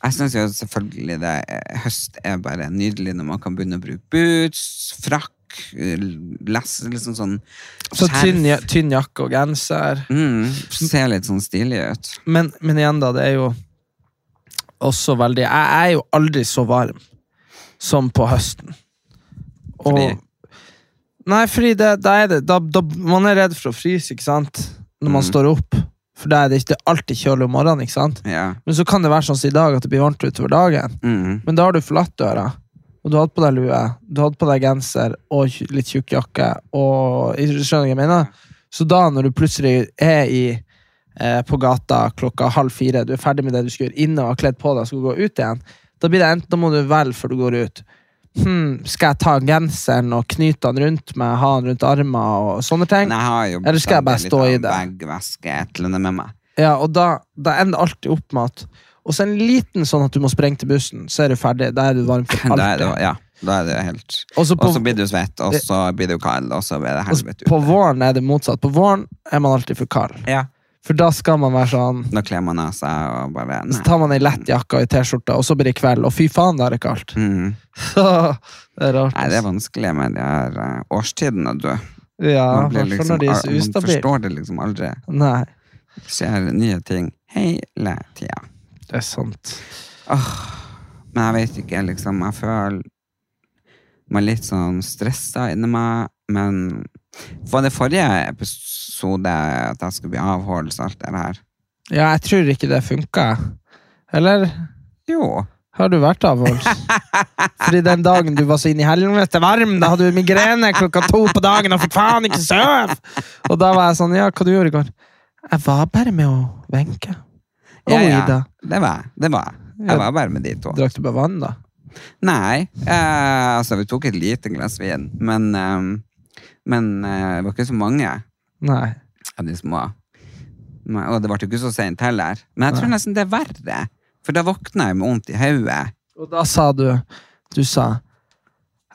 [SPEAKER 1] jeg syns jo selvfølgelig det er- høst er bare nydelig når man kan begynne å bruke boots, frakk, less, liksom sånn
[SPEAKER 2] Så
[SPEAKER 1] skjerf.
[SPEAKER 2] tynn, ja- tynn jakke og genser.
[SPEAKER 1] Mm, ser litt sånn stilig ut.
[SPEAKER 2] men, men igjen, da, det er jo også veldig Jeg er jo aldri så varm som på høsten. Og,
[SPEAKER 1] Fordi?
[SPEAKER 2] Nei, fordi det, da er det da, da, Man er redd for å fryse, ikke sant? Når man
[SPEAKER 1] Mm.
[SPEAKER 2] står opp. For da er det, ikke- det er alltid kjølig om morgenen, ikke sant?
[SPEAKER 1] Ja.
[SPEAKER 2] Men så kan det være sånn som i dag, at det blir varmt utover dagen.
[SPEAKER 1] Mm.
[SPEAKER 2] Men da har du forlatt døra, og du hadde på deg lue, du hadde på deg genser og tj- litt tjukk jakke. Og, skjønner du hva jeg mener? Så da, når du plutselig er i, eh, på gata klokka halv fire, du er ferdig med det du skal gjøre inne og har kledd på deg og skal gå ut igjen, da blir det enten da må du velge før du går ut. hm, Skal jeg ta genseren og knyte den rundt meg, ha den rundt armen og sånne ting?
[SPEAKER 1] Men jeg har jo
[SPEAKER 2] Eller skal jeg bare
[SPEAKER 1] bestandig
[SPEAKER 2] stå i
[SPEAKER 1] litt
[SPEAKER 2] det?
[SPEAKER 1] av Veggvæske, et eller annet med
[SPEAKER 2] [laughs]
[SPEAKER 1] meg.
[SPEAKER 2] Ja, og da, da ender det alltid opp med at Og så en liten sånn at du må sprenge til bussen, så er du ferdig. Da er du varm
[SPEAKER 1] [laughs]
[SPEAKER 2] for
[SPEAKER 1] Da er det,
[SPEAKER 2] alltid.
[SPEAKER 1] ja, da er det helt
[SPEAKER 2] Og så på,
[SPEAKER 1] Og så blir du svett, og så blir du kald, og så blir det
[SPEAKER 2] og så
[SPEAKER 1] helvete
[SPEAKER 2] Altså, på
[SPEAKER 1] ute.
[SPEAKER 2] våren er det motsatt. På våren er man alltid for kald.
[SPEAKER 1] Ja.
[SPEAKER 2] For da skal man være sånn
[SPEAKER 1] Da kler man av seg og bare
[SPEAKER 2] Så
[SPEAKER 1] Nei.
[SPEAKER 2] tar man ei lett jakke og ei T-skjorte, og så blir det kveld, og fy faen, da er det kaldt.
[SPEAKER 1] Mm.
[SPEAKER 2] [laughs] Så det er rart.
[SPEAKER 1] Nei, det er vanskelig med de her eh, årstidene, du.
[SPEAKER 2] ja,
[SPEAKER 1] Man, blir
[SPEAKER 2] hvertfall
[SPEAKER 1] liksom,
[SPEAKER 2] når de er så
[SPEAKER 1] man
[SPEAKER 2] ustabile.
[SPEAKER 1] forstår det liksom aldri.
[SPEAKER 2] Nei,
[SPEAKER 1] Skjer nye ting hele tida.
[SPEAKER 2] det er sant.
[SPEAKER 1] Men jeg vet ikke, liksom. Jeg føler meg litt sånn stressa inni meg. Men var det forrige episode at jeg skulle bli avholds og alt det her?
[SPEAKER 2] Ja, jeg tror ikke det funka. Eller
[SPEAKER 1] Jo.
[SPEAKER 2] har du vært [laughs] avholds? Fordi den dagen du var så inn i helvete varm, da hadde du migrene klokka to på dagen og fikk faen ikke sove! Og da var jeg sånn, ja, hva du gjorde i går? Jeg var bare med å Wenche. Og
[SPEAKER 1] Ja, ja.
[SPEAKER 2] Ida.
[SPEAKER 1] Det var jeg. Det var jeg.
[SPEAKER 2] Ja.
[SPEAKER 1] Jeg var bare med de to.
[SPEAKER 2] Drakk du bare vann, da?
[SPEAKER 1] Nei, eh, altså vi tok et lite glass vin, men, eh, men eh, det var ikke så mange
[SPEAKER 2] Nei.
[SPEAKER 1] av de små. Men, og det ble jo ikke så sent heller. Men jeg tror nesten det er verre, for da våkna jeg med vondt i hodet.
[SPEAKER 2] Og da sa du Du sa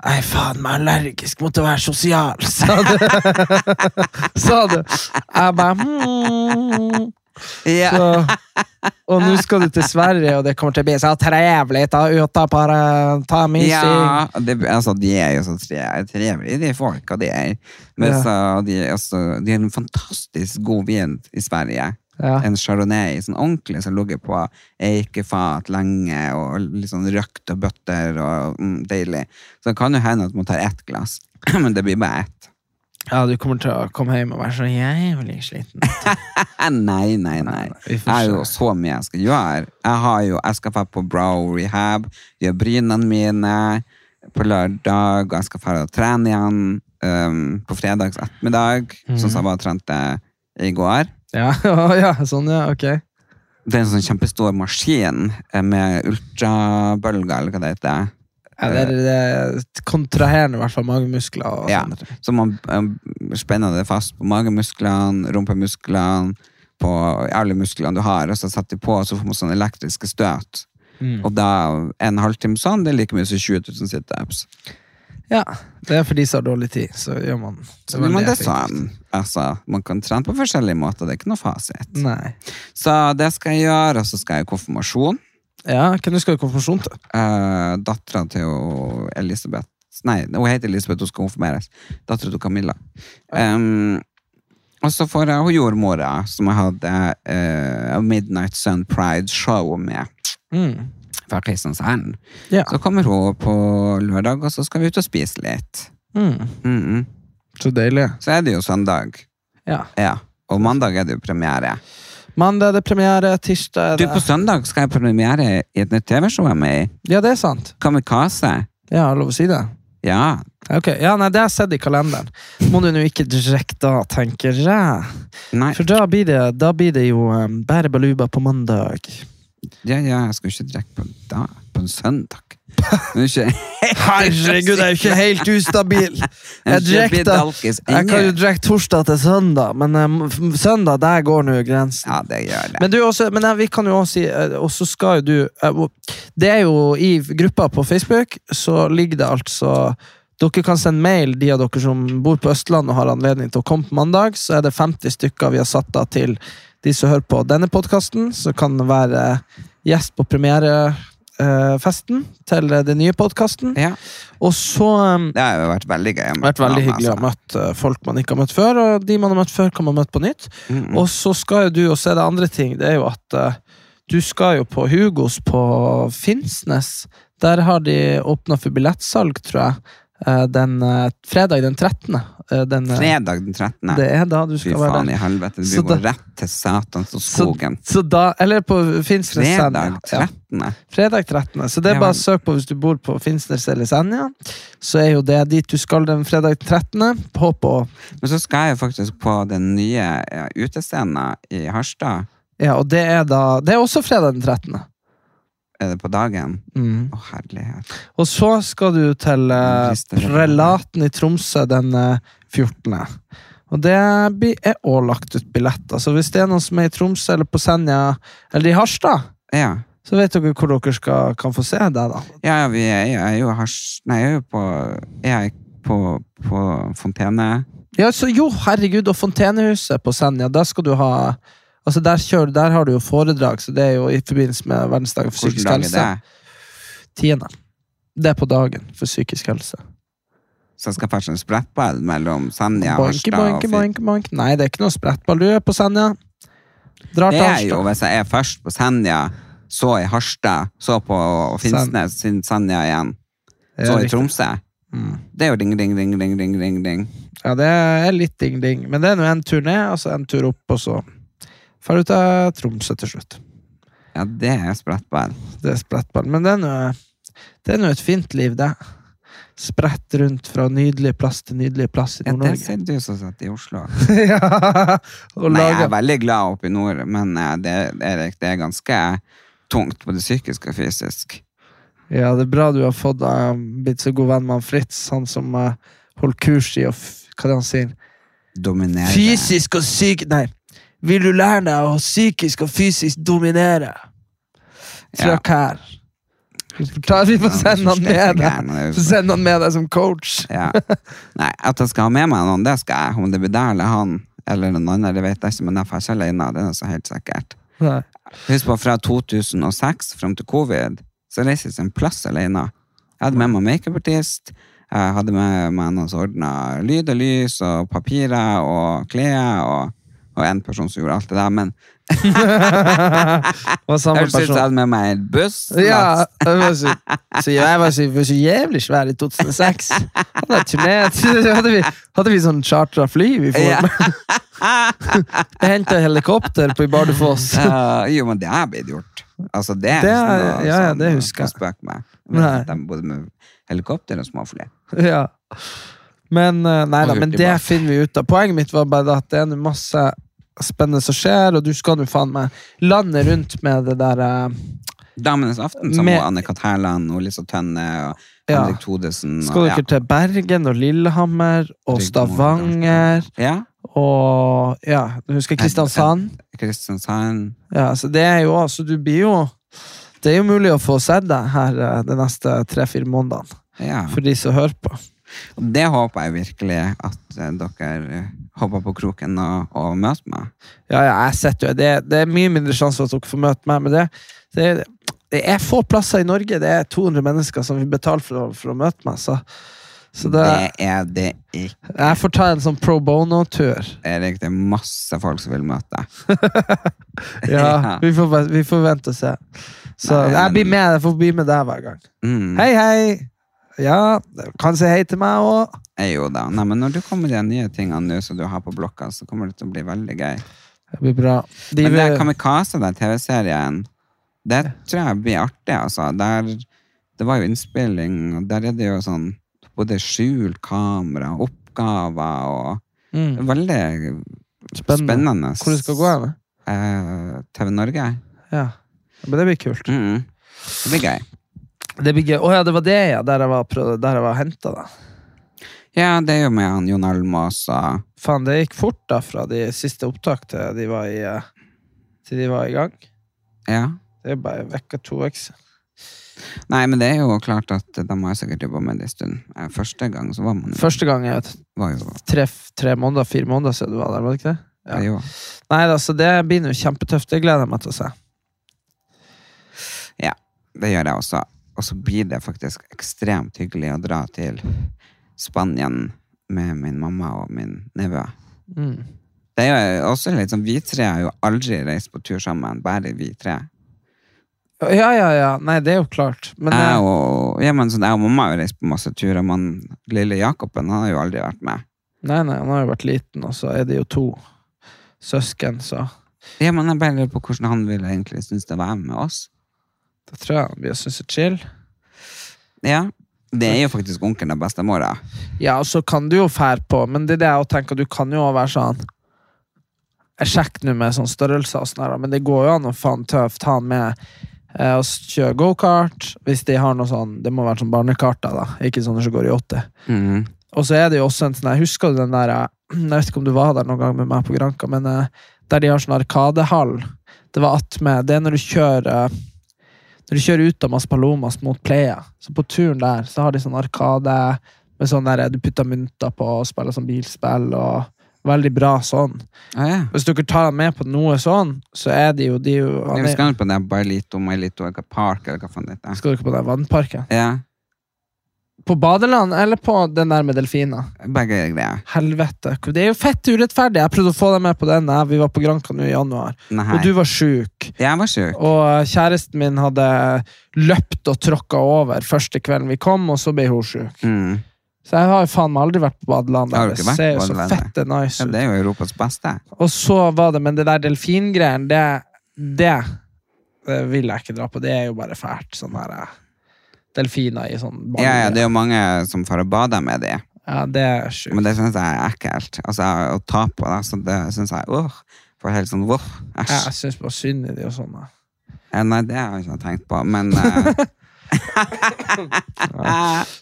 [SPEAKER 2] Nei, faen meg allergisk mot å være sosial, [laughs] sa du. sa du. Jeg bare hmm.
[SPEAKER 1] Ja.
[SPEAKER 2] så, Og nå skal du til Sverige, og det kommer til å bli så trevelig. Ta ut av bare ta mysig.
[SPEAKER 1] Ja, det, altså, de er jo så tre- trevelige, de folka de er. Men
[SPEAKER 2] Ja.
[SPEAKER 1] så, de, er også, de har en fantastisk god vin i Sverige.
[SPEAKER 2] Ja.
[SPEAKER 1] En chardonnay, sånn ordentlig, som ligger på eikefat lenge, og litt sånn røkt og bøtter, og mm, deilig. Så det kan jo hende at man tar ett glass, [clears throat] men det blir bare ett.
[SPEAKER 2] Ja, du kommer til å komme hjem og være så jævlig sliten.
[SPEAKER 1] Eh, Nei, nei, nei.
[SPEAKER 2] vi
[SPEAKER 1] Jeg
[SPEAKER 2] får
[SPEAKER 1] har jo
[SPEAKER 2] se.
[SPEAKER 1] så mye jeg skal gjøre. Jeg har jo, jeg skal dra på brow rehab, gjøre brynene mine på lørdag, og jeg skal dra og trene igjen ehm, på fredags ettermiddag, sånn
[SPEAKER 2] Mhm.
[SPEAKER 1] som jeg var og trente i går.
[SPEAKER 2] Ja, [laughs] ja, ja sånn, ja. Ok.
[SPEAKER 1] Det er en sånn kjempestor maskin eh, med ultrabølger, eller hva det heter.
[SPEAKER 2] Ja, det, er, det er kontraherende, i hvert fall. Magemuskler og sånn.
[SPEAKER 1] Ja.
[SPEAKER 2] sånne ting.
[SPEAKER 1] Så man eh, spenner det fast på magemusklene, rumpemusklene, på alle musklene du har, og så setter de på, og så får man sånne elektriske støt.
[SPEAKER 2] Mm.
[SPEAKER 1] Og da en halvtime sånn, det er like mye som 20 000 situps.
[SPEAKER 2] Ja, det er for de som har dårlig tid, så gjør man
[SPEAKER 1] Så men det er
[SPEAKER 2] effektivt.
[SPEAKER 1] sånn. Altså, man kan trene på forskjellige måter, det er ikke noe fasit.
[SPEAKER 2] Nei.
[SPEAKER 1] Så det skal jeg gjøre, og så skal jeg i konfirmasjon.
[SPEAKER 2] Ja, hvem du skal i konfirmasjon til?
[SPEAKER 1] Uh, Dattera til jo Elisabeth Nei, hun heter Elisabeth, hun skal konfirmeres. Dattera til Camilla. Um, og så får jeg hun jordmora, som jeg hadde eh, Midnight Sun Pride-show med.
[SPEAKER 2] Mm.
[SPEAKER 1] Fra Kristiansand.
[SPEAKER 2] Ja.
[SPEAKER 1] Så kommer hun på lørdag, og så skal vi ut og spise litt.
[SPEAKER 2] Mm.
[SPEAKER 1] Mhm.
[SPEAKER 2] Så deilig.
[SPEAKER 1] Så er det jo søndag.
[SPEAKER 2] Ja.
[SPEAKER 1] Ja. Og mandag er det jo premiere.
[SPEAKER 2] Mandag er det premiere, tirsdag er
[SPEAKER 1] Du,
[SPEAKER 2] det
[SPEAKER 1] på søndag skal jeg på premiere i et nytt TV-show jeg er med i.
[SPEAKER 2] Ja, det er sant.
[SPEAKER 1] Kamikaze.
[SPEAKER 2] Ja, jeg har lov å si det.
[SPEAKER 1] Ja.
[SPEAKER 2] Ok, ja, nei, Det har jeg sett i kalenderen. Må du nå ikke direkte da, tenker jeg.
[SPEAKER 1] Nei,
[SPEAKER 2] For da blir det, da blir det jo um, Bære baluba på mandag.
[SPEAKER 1] ja, ja, jeg skal jo ikke drikke på en dag. På en søndag. Nå er ikke [laughs]
[SPEAKER 2] Herregud, jeg er jo ikke [laughs] helt ustabil! Jeg
[SPEAKER 1] Jeg
[SPEAKER 2] drekk
[SPEAKER 1] blir
[SPEAKER 2] da-
[SPEAKER 1] dalkis
[SPEAKER 2] Jeg kan jo
[SPEAKER 1] ennå.
[SPEAKER 2] drikke torsdag til søndag, men um, f- søndag, der går nå grensen.
[SPEAKER 1] Ja, det gjør det.
[SPEAKER 2] Men, du også, men eh, vi kan jo også si eh, Og så skal jo du eh, og- Det er jo i gruppa på Facebook, så ligger det altså Dere kan sende mail, de av dere som bor på Østlandet og har anledning til å komme på mandag. Så er det 50 stykker vi har satt av til de som hører på denne podkasten, som kan være gjest på premierefesten til eh, den nye podkasten.
[SPEAKER 1] Ja,
[SPEAKER 2] Og så eh,
[SPEAKER 1] det har jo vært veldig gøy. å
[SPEAKER 2] det har vært
[SPEAKER 1] møte
[SPEAKER 2] veldig
[SPEAKER 1] dem,
[SPEAKER 2] hyggelig å ha
[SPEAKER 1] altså.
[SPEAKER 2] møtt eh, folk man ikke har møtt før, og de man har møtt før, kan man møte på nytt.
[SPEAKER 1] Mhm.
[SPEAKER 2] Og så skal jo du, og så er det andre ting, det er jo at eh, du skal jo på Hugos på Finnsnes. Der har de åpna for billettsalg, tror jeg, eh, den eh, fredag den 13. eh, den, eh,
[SPEAKER 1] Fredag den 13.
[SPEAKER 2] Det er da du
[SPEAKER 1] Fy
[SPEAKER 2] skal være
[SPEAKER 1] faen i
[SPEAKER 2] der.
[SPEAKER 1] helvete,
[SPEAKER 2] Så
[SPEAKER 1] du går
[SPEAKER 2] da-
[SPEAKER 1] rett til satans og
[SPEAKER 2] Så,
[SPEAKER 1] skogen.
[SPEAKER 2] så da, eller på Finnsnes
[SPEAKER 1] Fredag
[SPEAKER 2] Senja. Ja.
[SPEAKER 1] 13.
[SPEAKER 2] Fredag 13. Så det
[SPEAKER 1] Ja,
[SPEAKER 2] er bare
[SPEAKER 1] men-
[SPEAKER 2] å søke på hvis du bor på Finnsnes eller Senja. Så er jo det dit du skal den fredag 13. Håp og
[SPEAKER 1] Men så skal jeg jo faktisk på den nye ja, utescenen i Harstad.
[SPEAKER 2] Ja, og det er da Det er også fredag den 13.
[SPEAKER 1] er det på dagen.
[SPEAKER 2] Mm.
[SPEAKER 1] Å, herlighet.
[SPEAKER 2] Og så skal du til eh,
[SPEAKER 1] Christer, ja.
[SPEAKER 2] Prelaten i Tromsø den eh, 14. Og det blir- er også lagt ut billetter. Så hvis det er noen som er i Tromsø eller på Senja eller i Harstad,
[SPEAKER 1] Ja,
[SPEAKER 2] så vet dere hvor dere skal, kan få se det. da.
[SPEAKER 1] ja, ja vi er, jeg er jo hars... Nei, jeg er jo på Jeg er på, på Fontene.
[SPEAKER 2] Ja, så jo, herregud, og Fontenehuset på Senja, der skal du ha Altså, der, kjører, der har du jo foredrag, så det er jo i forbindelse med verdensdagen for
[SPEAKER 1] Hvilken
[SPEAKER 2] psykisk
[SPEAKER 1] dag er
[SPEAKER 2] helse.
[SPEAKER 1] det?
[SPEAKER 2] Tiende. Det er på dagen for psykisk helse.
[SPEAKER 1] Så jeg skal fære en sprettball mellom Senja,
[SPEAKER 2] boink,
[SPEAKER 1] Harstad og
[SPEAKER 2] boink,
[SPEAKER 1] Finn.
[SPEAKER 2] boink, boink. Nei, det er ikke noe sprettball. Du er på Senja. Drar
[SPEAKER 1] Det
[SPEAKER 2] til
[SPEAKER 1] er jo
[SPEAKER 2] Harstad.
[SPEAKER 1] hvis jeg er først på Senja, så i Harstad, så på Finnsnes, siden Senja igjen,
[SPEAKER 2] Det er
[SPEAKER 1] så i
[SPEAKER 2] riktig.
[SPEAKER 1] Tromsø. Det er jo ding, ding, ding, ding, ding, ding, ding.
[SPEAKER 2] Ja, det er litt ding-ding. Men det er nå en tur ned, og så en tur opp, og så drar du til Tromsø til slutt.
[SPEAKER 1] Ja, det er sprettball.
[SPEAKER 2] Det er sprettball. Men det er nå det er nå et fint liv, det. Spredt rundt fra nydelig plass til nydelig plass i
[SPEAKER 1] Ja, det
[SPEAKER 2] Nord-Norge.
[SPEAKER 1] ser du som satt i Oslo.
[SPEAKER 2] [laughs] ja, og
[SPEAKER 1] Nei, jeg er
[SPEAKER 2] lager
[SPEAKER 1] veldig glad oppe i nord, men eh, det, Erik, det er ganske tungt, både psykisk og fysisk.
[SPEAKER 2] Ja, det er bra du har fått eh, blitt så god venn med han Fritz, han som eh, holder kurs i å f- Hva er det han sier?
[SPEAKER 1] Dominerende.
[SPEAKER 2] Fysisk og psyk... Nei. Vil du lære deg å psykisk og fysisk dominere?
[SPEAKER 1] Ja.
[SPEAKER 2] Trykk her. Ta, vi får sende han med
[SPEAKER 1] Gæren,
[SPEAKER 2] deg.
[SPEAKER 1] det er liksom. jo-
[SPEAKER 2] Send han med deg som coach.
[SPEAKER 1] Ja. Nei, at jeg skal ha med meg noen, det skal jeg. Om det blir deg eller han eller noen andre, det vet jeg ikke, men jeg drar ikke alene. Det er noe så helt sikkert.
[SPEAKER 2] Nei.
[SPEAKER 1] Husk på, fra 2006 fram til covid, så reiste jeg ikke en plass alene. Jeg hadde med meg makeupartist, jeg hadde med meg noen som ordna lyd og lys og papirer og klær og, og en person som gjorde alt det der, men
[SPEAKER 2] Var samme
[SPEAKER 1] jeg synes jeg
[SPEAKER 2] person.
[SPEAKER 1] hadde med meg en buss.
[SPEAKER 2] Ja, jeg var så, så jeg var så, var så jævlig svær i 2006. Hadde, jeg turnert. [laughs] hadde, vi, hadde vi sånn chartra fly vi får
[SPEAKER 1] Ja.
[SPEAKER 2] med? [laughs] Jeg henta helikopter på i Bardufoss. [laughs]
[SPEAKER 1] Ja, jo, men det er blitt gjort. Altså, det er
[SPEAKER 2] Det
[SPEAKER 1] ikke
[SPEAKER 2] er-
[SPEAKER 1] noe
[SPEAKER 2] ja, ja,
[SPEAKER 1] sånn
[SPEAKER 2] det
[SPEAKER 1] å-
[SPEAKER 2] husker
[SPEAKER 1] å
[SPEAKER 2] jeg.
[SPEAKER 1] spøke med.
[SPEAKER 2] Nei.
[SPEAKER 1] De både med helikopter og småfly.
[SPEAKER 2] [laughs] Ja. Men, eh, nei,
[SPEAKER 1] Og
[SPEAKER 2] da, men
[SPEAKER 1] hurtigbåt.
[SPEAKER 2] det finner vi ut av. Poenget mitt var bare at det er nå masse spennende som skjer, og du skal nå faen meg lande rundt med det der eh,
[SPEAKER 1] Damenes aften, som
[SPEAKER 2] Med-
[SPEAKER 1] med... Anne Kat. Hærland og Lisa Tønne og
[SPEAKER 2] Ja.
[SPEAKER 1] Henrik Thodesen. og-
[SPEAKER 2] Skal dere til Bergen og Lillehammer og
[SPEAKER 1] Rigmor,
[SPEAKER 2] Stavanger
[SPEAKER 1] Ja.
[SPEAKER 2] og Ja, nå husker jeg Kristiansand.
[SPEAKER 1] ja. Kristiansand.
[SPEAKER 2] Ja, så det er jo Så du blir jo Det er jo mulig å få sett deg her eh, de neste tre-fire månedene.
[SPEAKER 1] Ja.
[SPEAKER 2] For de som hører på.
[SPEAKER 1] Og det håper jeg virkelig at eh, dere eh, hopper på kroken og, og møter meg.
[SPEAKER 2] Ja, ja, jeg setter jo det. Det er mye mindre sjanse for at dere får møte meg med det. Det er, det er få plasser i Norge. Det er 200 mennesker som vil betale for å, for å møte meg. Så, så det,
[SPEAKER 1] Det er det ikke.
[SPEAKER 2] jeg får ta en sånn pro [laughs] bono-tur.
[SPEAKER 1] Erik, det er masse folk som vil møte deg.
[SPEAKER 2] Ja,
[SPEAKER 1] Ja.
[SPEAKER 2] vi, får, bare- vi får vente og se. Så
[SPEAKER 1] Nei,
[SPEAKER 2] jeg
[SPEAKER 1] men-
[SPEAKER 2] blir med. Jeg får bli med deg hver gang.
[SPEAKER 1] Mm.
[SPEAKER 2] Hei, hei! Ja, kan si hei til meg òg.
[SPEAKER 1] Eh, Jo da. Nei, men når du kommer med de nye tingene nå som du har på blokka, så kommer det til å bli veldig gøy.
[SPEAKER 2] Det blir bra. De
[SPEAKER 1] Men det
[SPEAKER 2] vil-
[SPEAKER 1] Kamikaze, den TV-serien, det tror jeg blir artig, altså. Der, det var jo innspilling, og der er det jo sånn både skjult kamera, oppgaver og
[SPEAKER 2] Mm.
[SPEAKER 1] Veldig
[SPEAKER 2] Spennende.
[SPEAKER 1] spennende.
[SPEAKER 2] Hvor det skal gå hen?
[SPEAKER 1] Eh, TV Norge.
[SPEAKER 2] Ja. Men det blir kult.
[SPEAKER 1] Mm. Det blir gøy.
[SPEAKER 2] Det blir gøy. Å ja, det var det, ja. Der jeg var, prøvd- der jeg var henta, da.
[SPEAKER 1] Ja, det er jo med han Jon Almaas og
[SPEAKER 2] Faen, det gikk fort da fra de siste opptak til de var i, eh, til de var i gang.
[SPEAKER 1] Ja.
[SPEAKER 2] Det er bare vekka to uker.
[SPEAKER 1] Nei, men det er jo klart at de har sikkert jobba med det en stund. Eh, Første gang så var man jo,
[SPEAKER 2] Første gang er det
[SPEAKER 1] var jo,
[SPEAKER 2] tre, tre måneder, fire måneder siden du var der, var det ikke det? Ja.
[SPEAKER 1] jo
[SPEAKER 2] Nei da, så det blir nå kjempetøft. Det gleder jeg meg til å se.
[SPEAKER 1] Ja, det gjør jeg også. Og så blir det faktisk ekstremt hyggelig å dra til Spanien med min mamma og min nevø.
[SPEAKER 2] Mm.
[SPEAKER 1] Det er jo også litt sånn, Vi tre har jo aldri reist på tur sammen, bare vi tre.
[SPEAKER 2] Ja, ja, ja. Nei, det er jo klart. Men
[SPEAKER 1] Jeg
[SPEAKER 2] eh,
[SPEAKER 1] og, ja, men sånn, jeg og mamma har jo reist på masse turer, men lille Jakoben han har jo aldri vært med.
[SPEAKER 2] nei, nei, han har jo vært liten, og så er det jo to søsken, så
[SPEAKER 1] Ja, men Jeg bare lurer på hvordan han ville egentlig synes det var med oss.
[SPEAKER 2] da tror jeg han blir å synes det er chill.
[SPEAKER 1] Ja, Det er jo faktisk onkelen og bestemora.
[SPEAKER 2] Ja, og så kan du jo fære på, men det er det jeg også tenker, du kan jo også være sånn Jeg sjekker nå med sånn størrelse og sånn, her, men det går jo an å faen tøft ha han med eh, og s- kjøre gokart. Hvis de har noe sånn Det må være sånn barnekarter, da. Ikke sånne som går i 80.
[SPEAKER 1] Mm.
[SPEAKER 2] Og så er det jo også en sånn her, Husker du den der eh, [clears throat] Jeg vet ikke om du var der noen gang med meg på Granka, men eh, der de har sånn arkadehall Det var attmed Det er når du kjører eh, Når du kjører ut av Mas Palomas mot Playa. Så på turen der så har de sånn arkade med sånn der eh, du putter mynter på og spiller sånn bilspill og Veldig bra sånn.
[SPEAKER 1] Ah, ja.
[SPEAKER 2] Hvis dere tar han med på noe sånn, så er de jo de er jo,
[SPEAKER 1] Vi
[SPEAKER 2] han er,
[SPEAKER 1] skal på den Bailito Mailito eller hva Park eller hva faen det heter.
[SPEAKER 2] Skal dere på den vannparken?
[SPEAKER 1] Ja,
[SPEAKER 2] På badeland eller på den der med delfiner?
[SPEAKER 1] begge greier.
[SPEAKER 2] Helvete. Det er jo fett urettferdig. Jeg prøvde å få deg med på den. Jeg- Vi var på Granca nå i januar,
[SPEAKER 1] Nei.
[SPEAKER 2] og du var sjuk.
[SPEAKER 1] Jeg var sjuk.
[SPEAKER 2] Og eh, kjæresten min hadde løpt og tråkka over første kvelden vi kom, og så ble hun sjuk.
[SPEAKER 1] Mm.
[SPEAKER 2] Så jeg har jo faen meg aldri vært på badeland.
[SPEAKER 1] Har du
[SPEAKER 2] Det
[SPEAKER 1] ikke vært
[SPEAKER 2] ser jo
[SPEAKER 1] på
[SPEAKER 2] så
[SPEAKER 1] badeland,
[SPEAKER 2] fette nice
[SPEAKER 1] Ja,
[SPEAKER 2] ut.
[SPEAKER 1] det er jo Europas beste.
[SPEAKER 2] Og så var det, men det der delfingreien, det, det, det vil jeg ikke dra på. Det er jo bare fælt. Sånn her eh, delfiner i sånn
[SPEAKER 1] Ja, ja, det er jo mange som får å bade med det.
[SPEAKER 2] Ja, det er sjukt.
[SPEAKER 1] Men det syns jeg er ekkelt. Altså, å ta på det, så det syns jeg åh, Får helt sånn åh,
[SPEAKER 2] Ja, altså.
[SPEAKER 1] æsj.
[SPEAKER 2] jeg syns bare synd i de og sånn. da.
[SPEAKER 1] Ja, Nei, det har jeg ikke tenkt på, men eh, [laughs]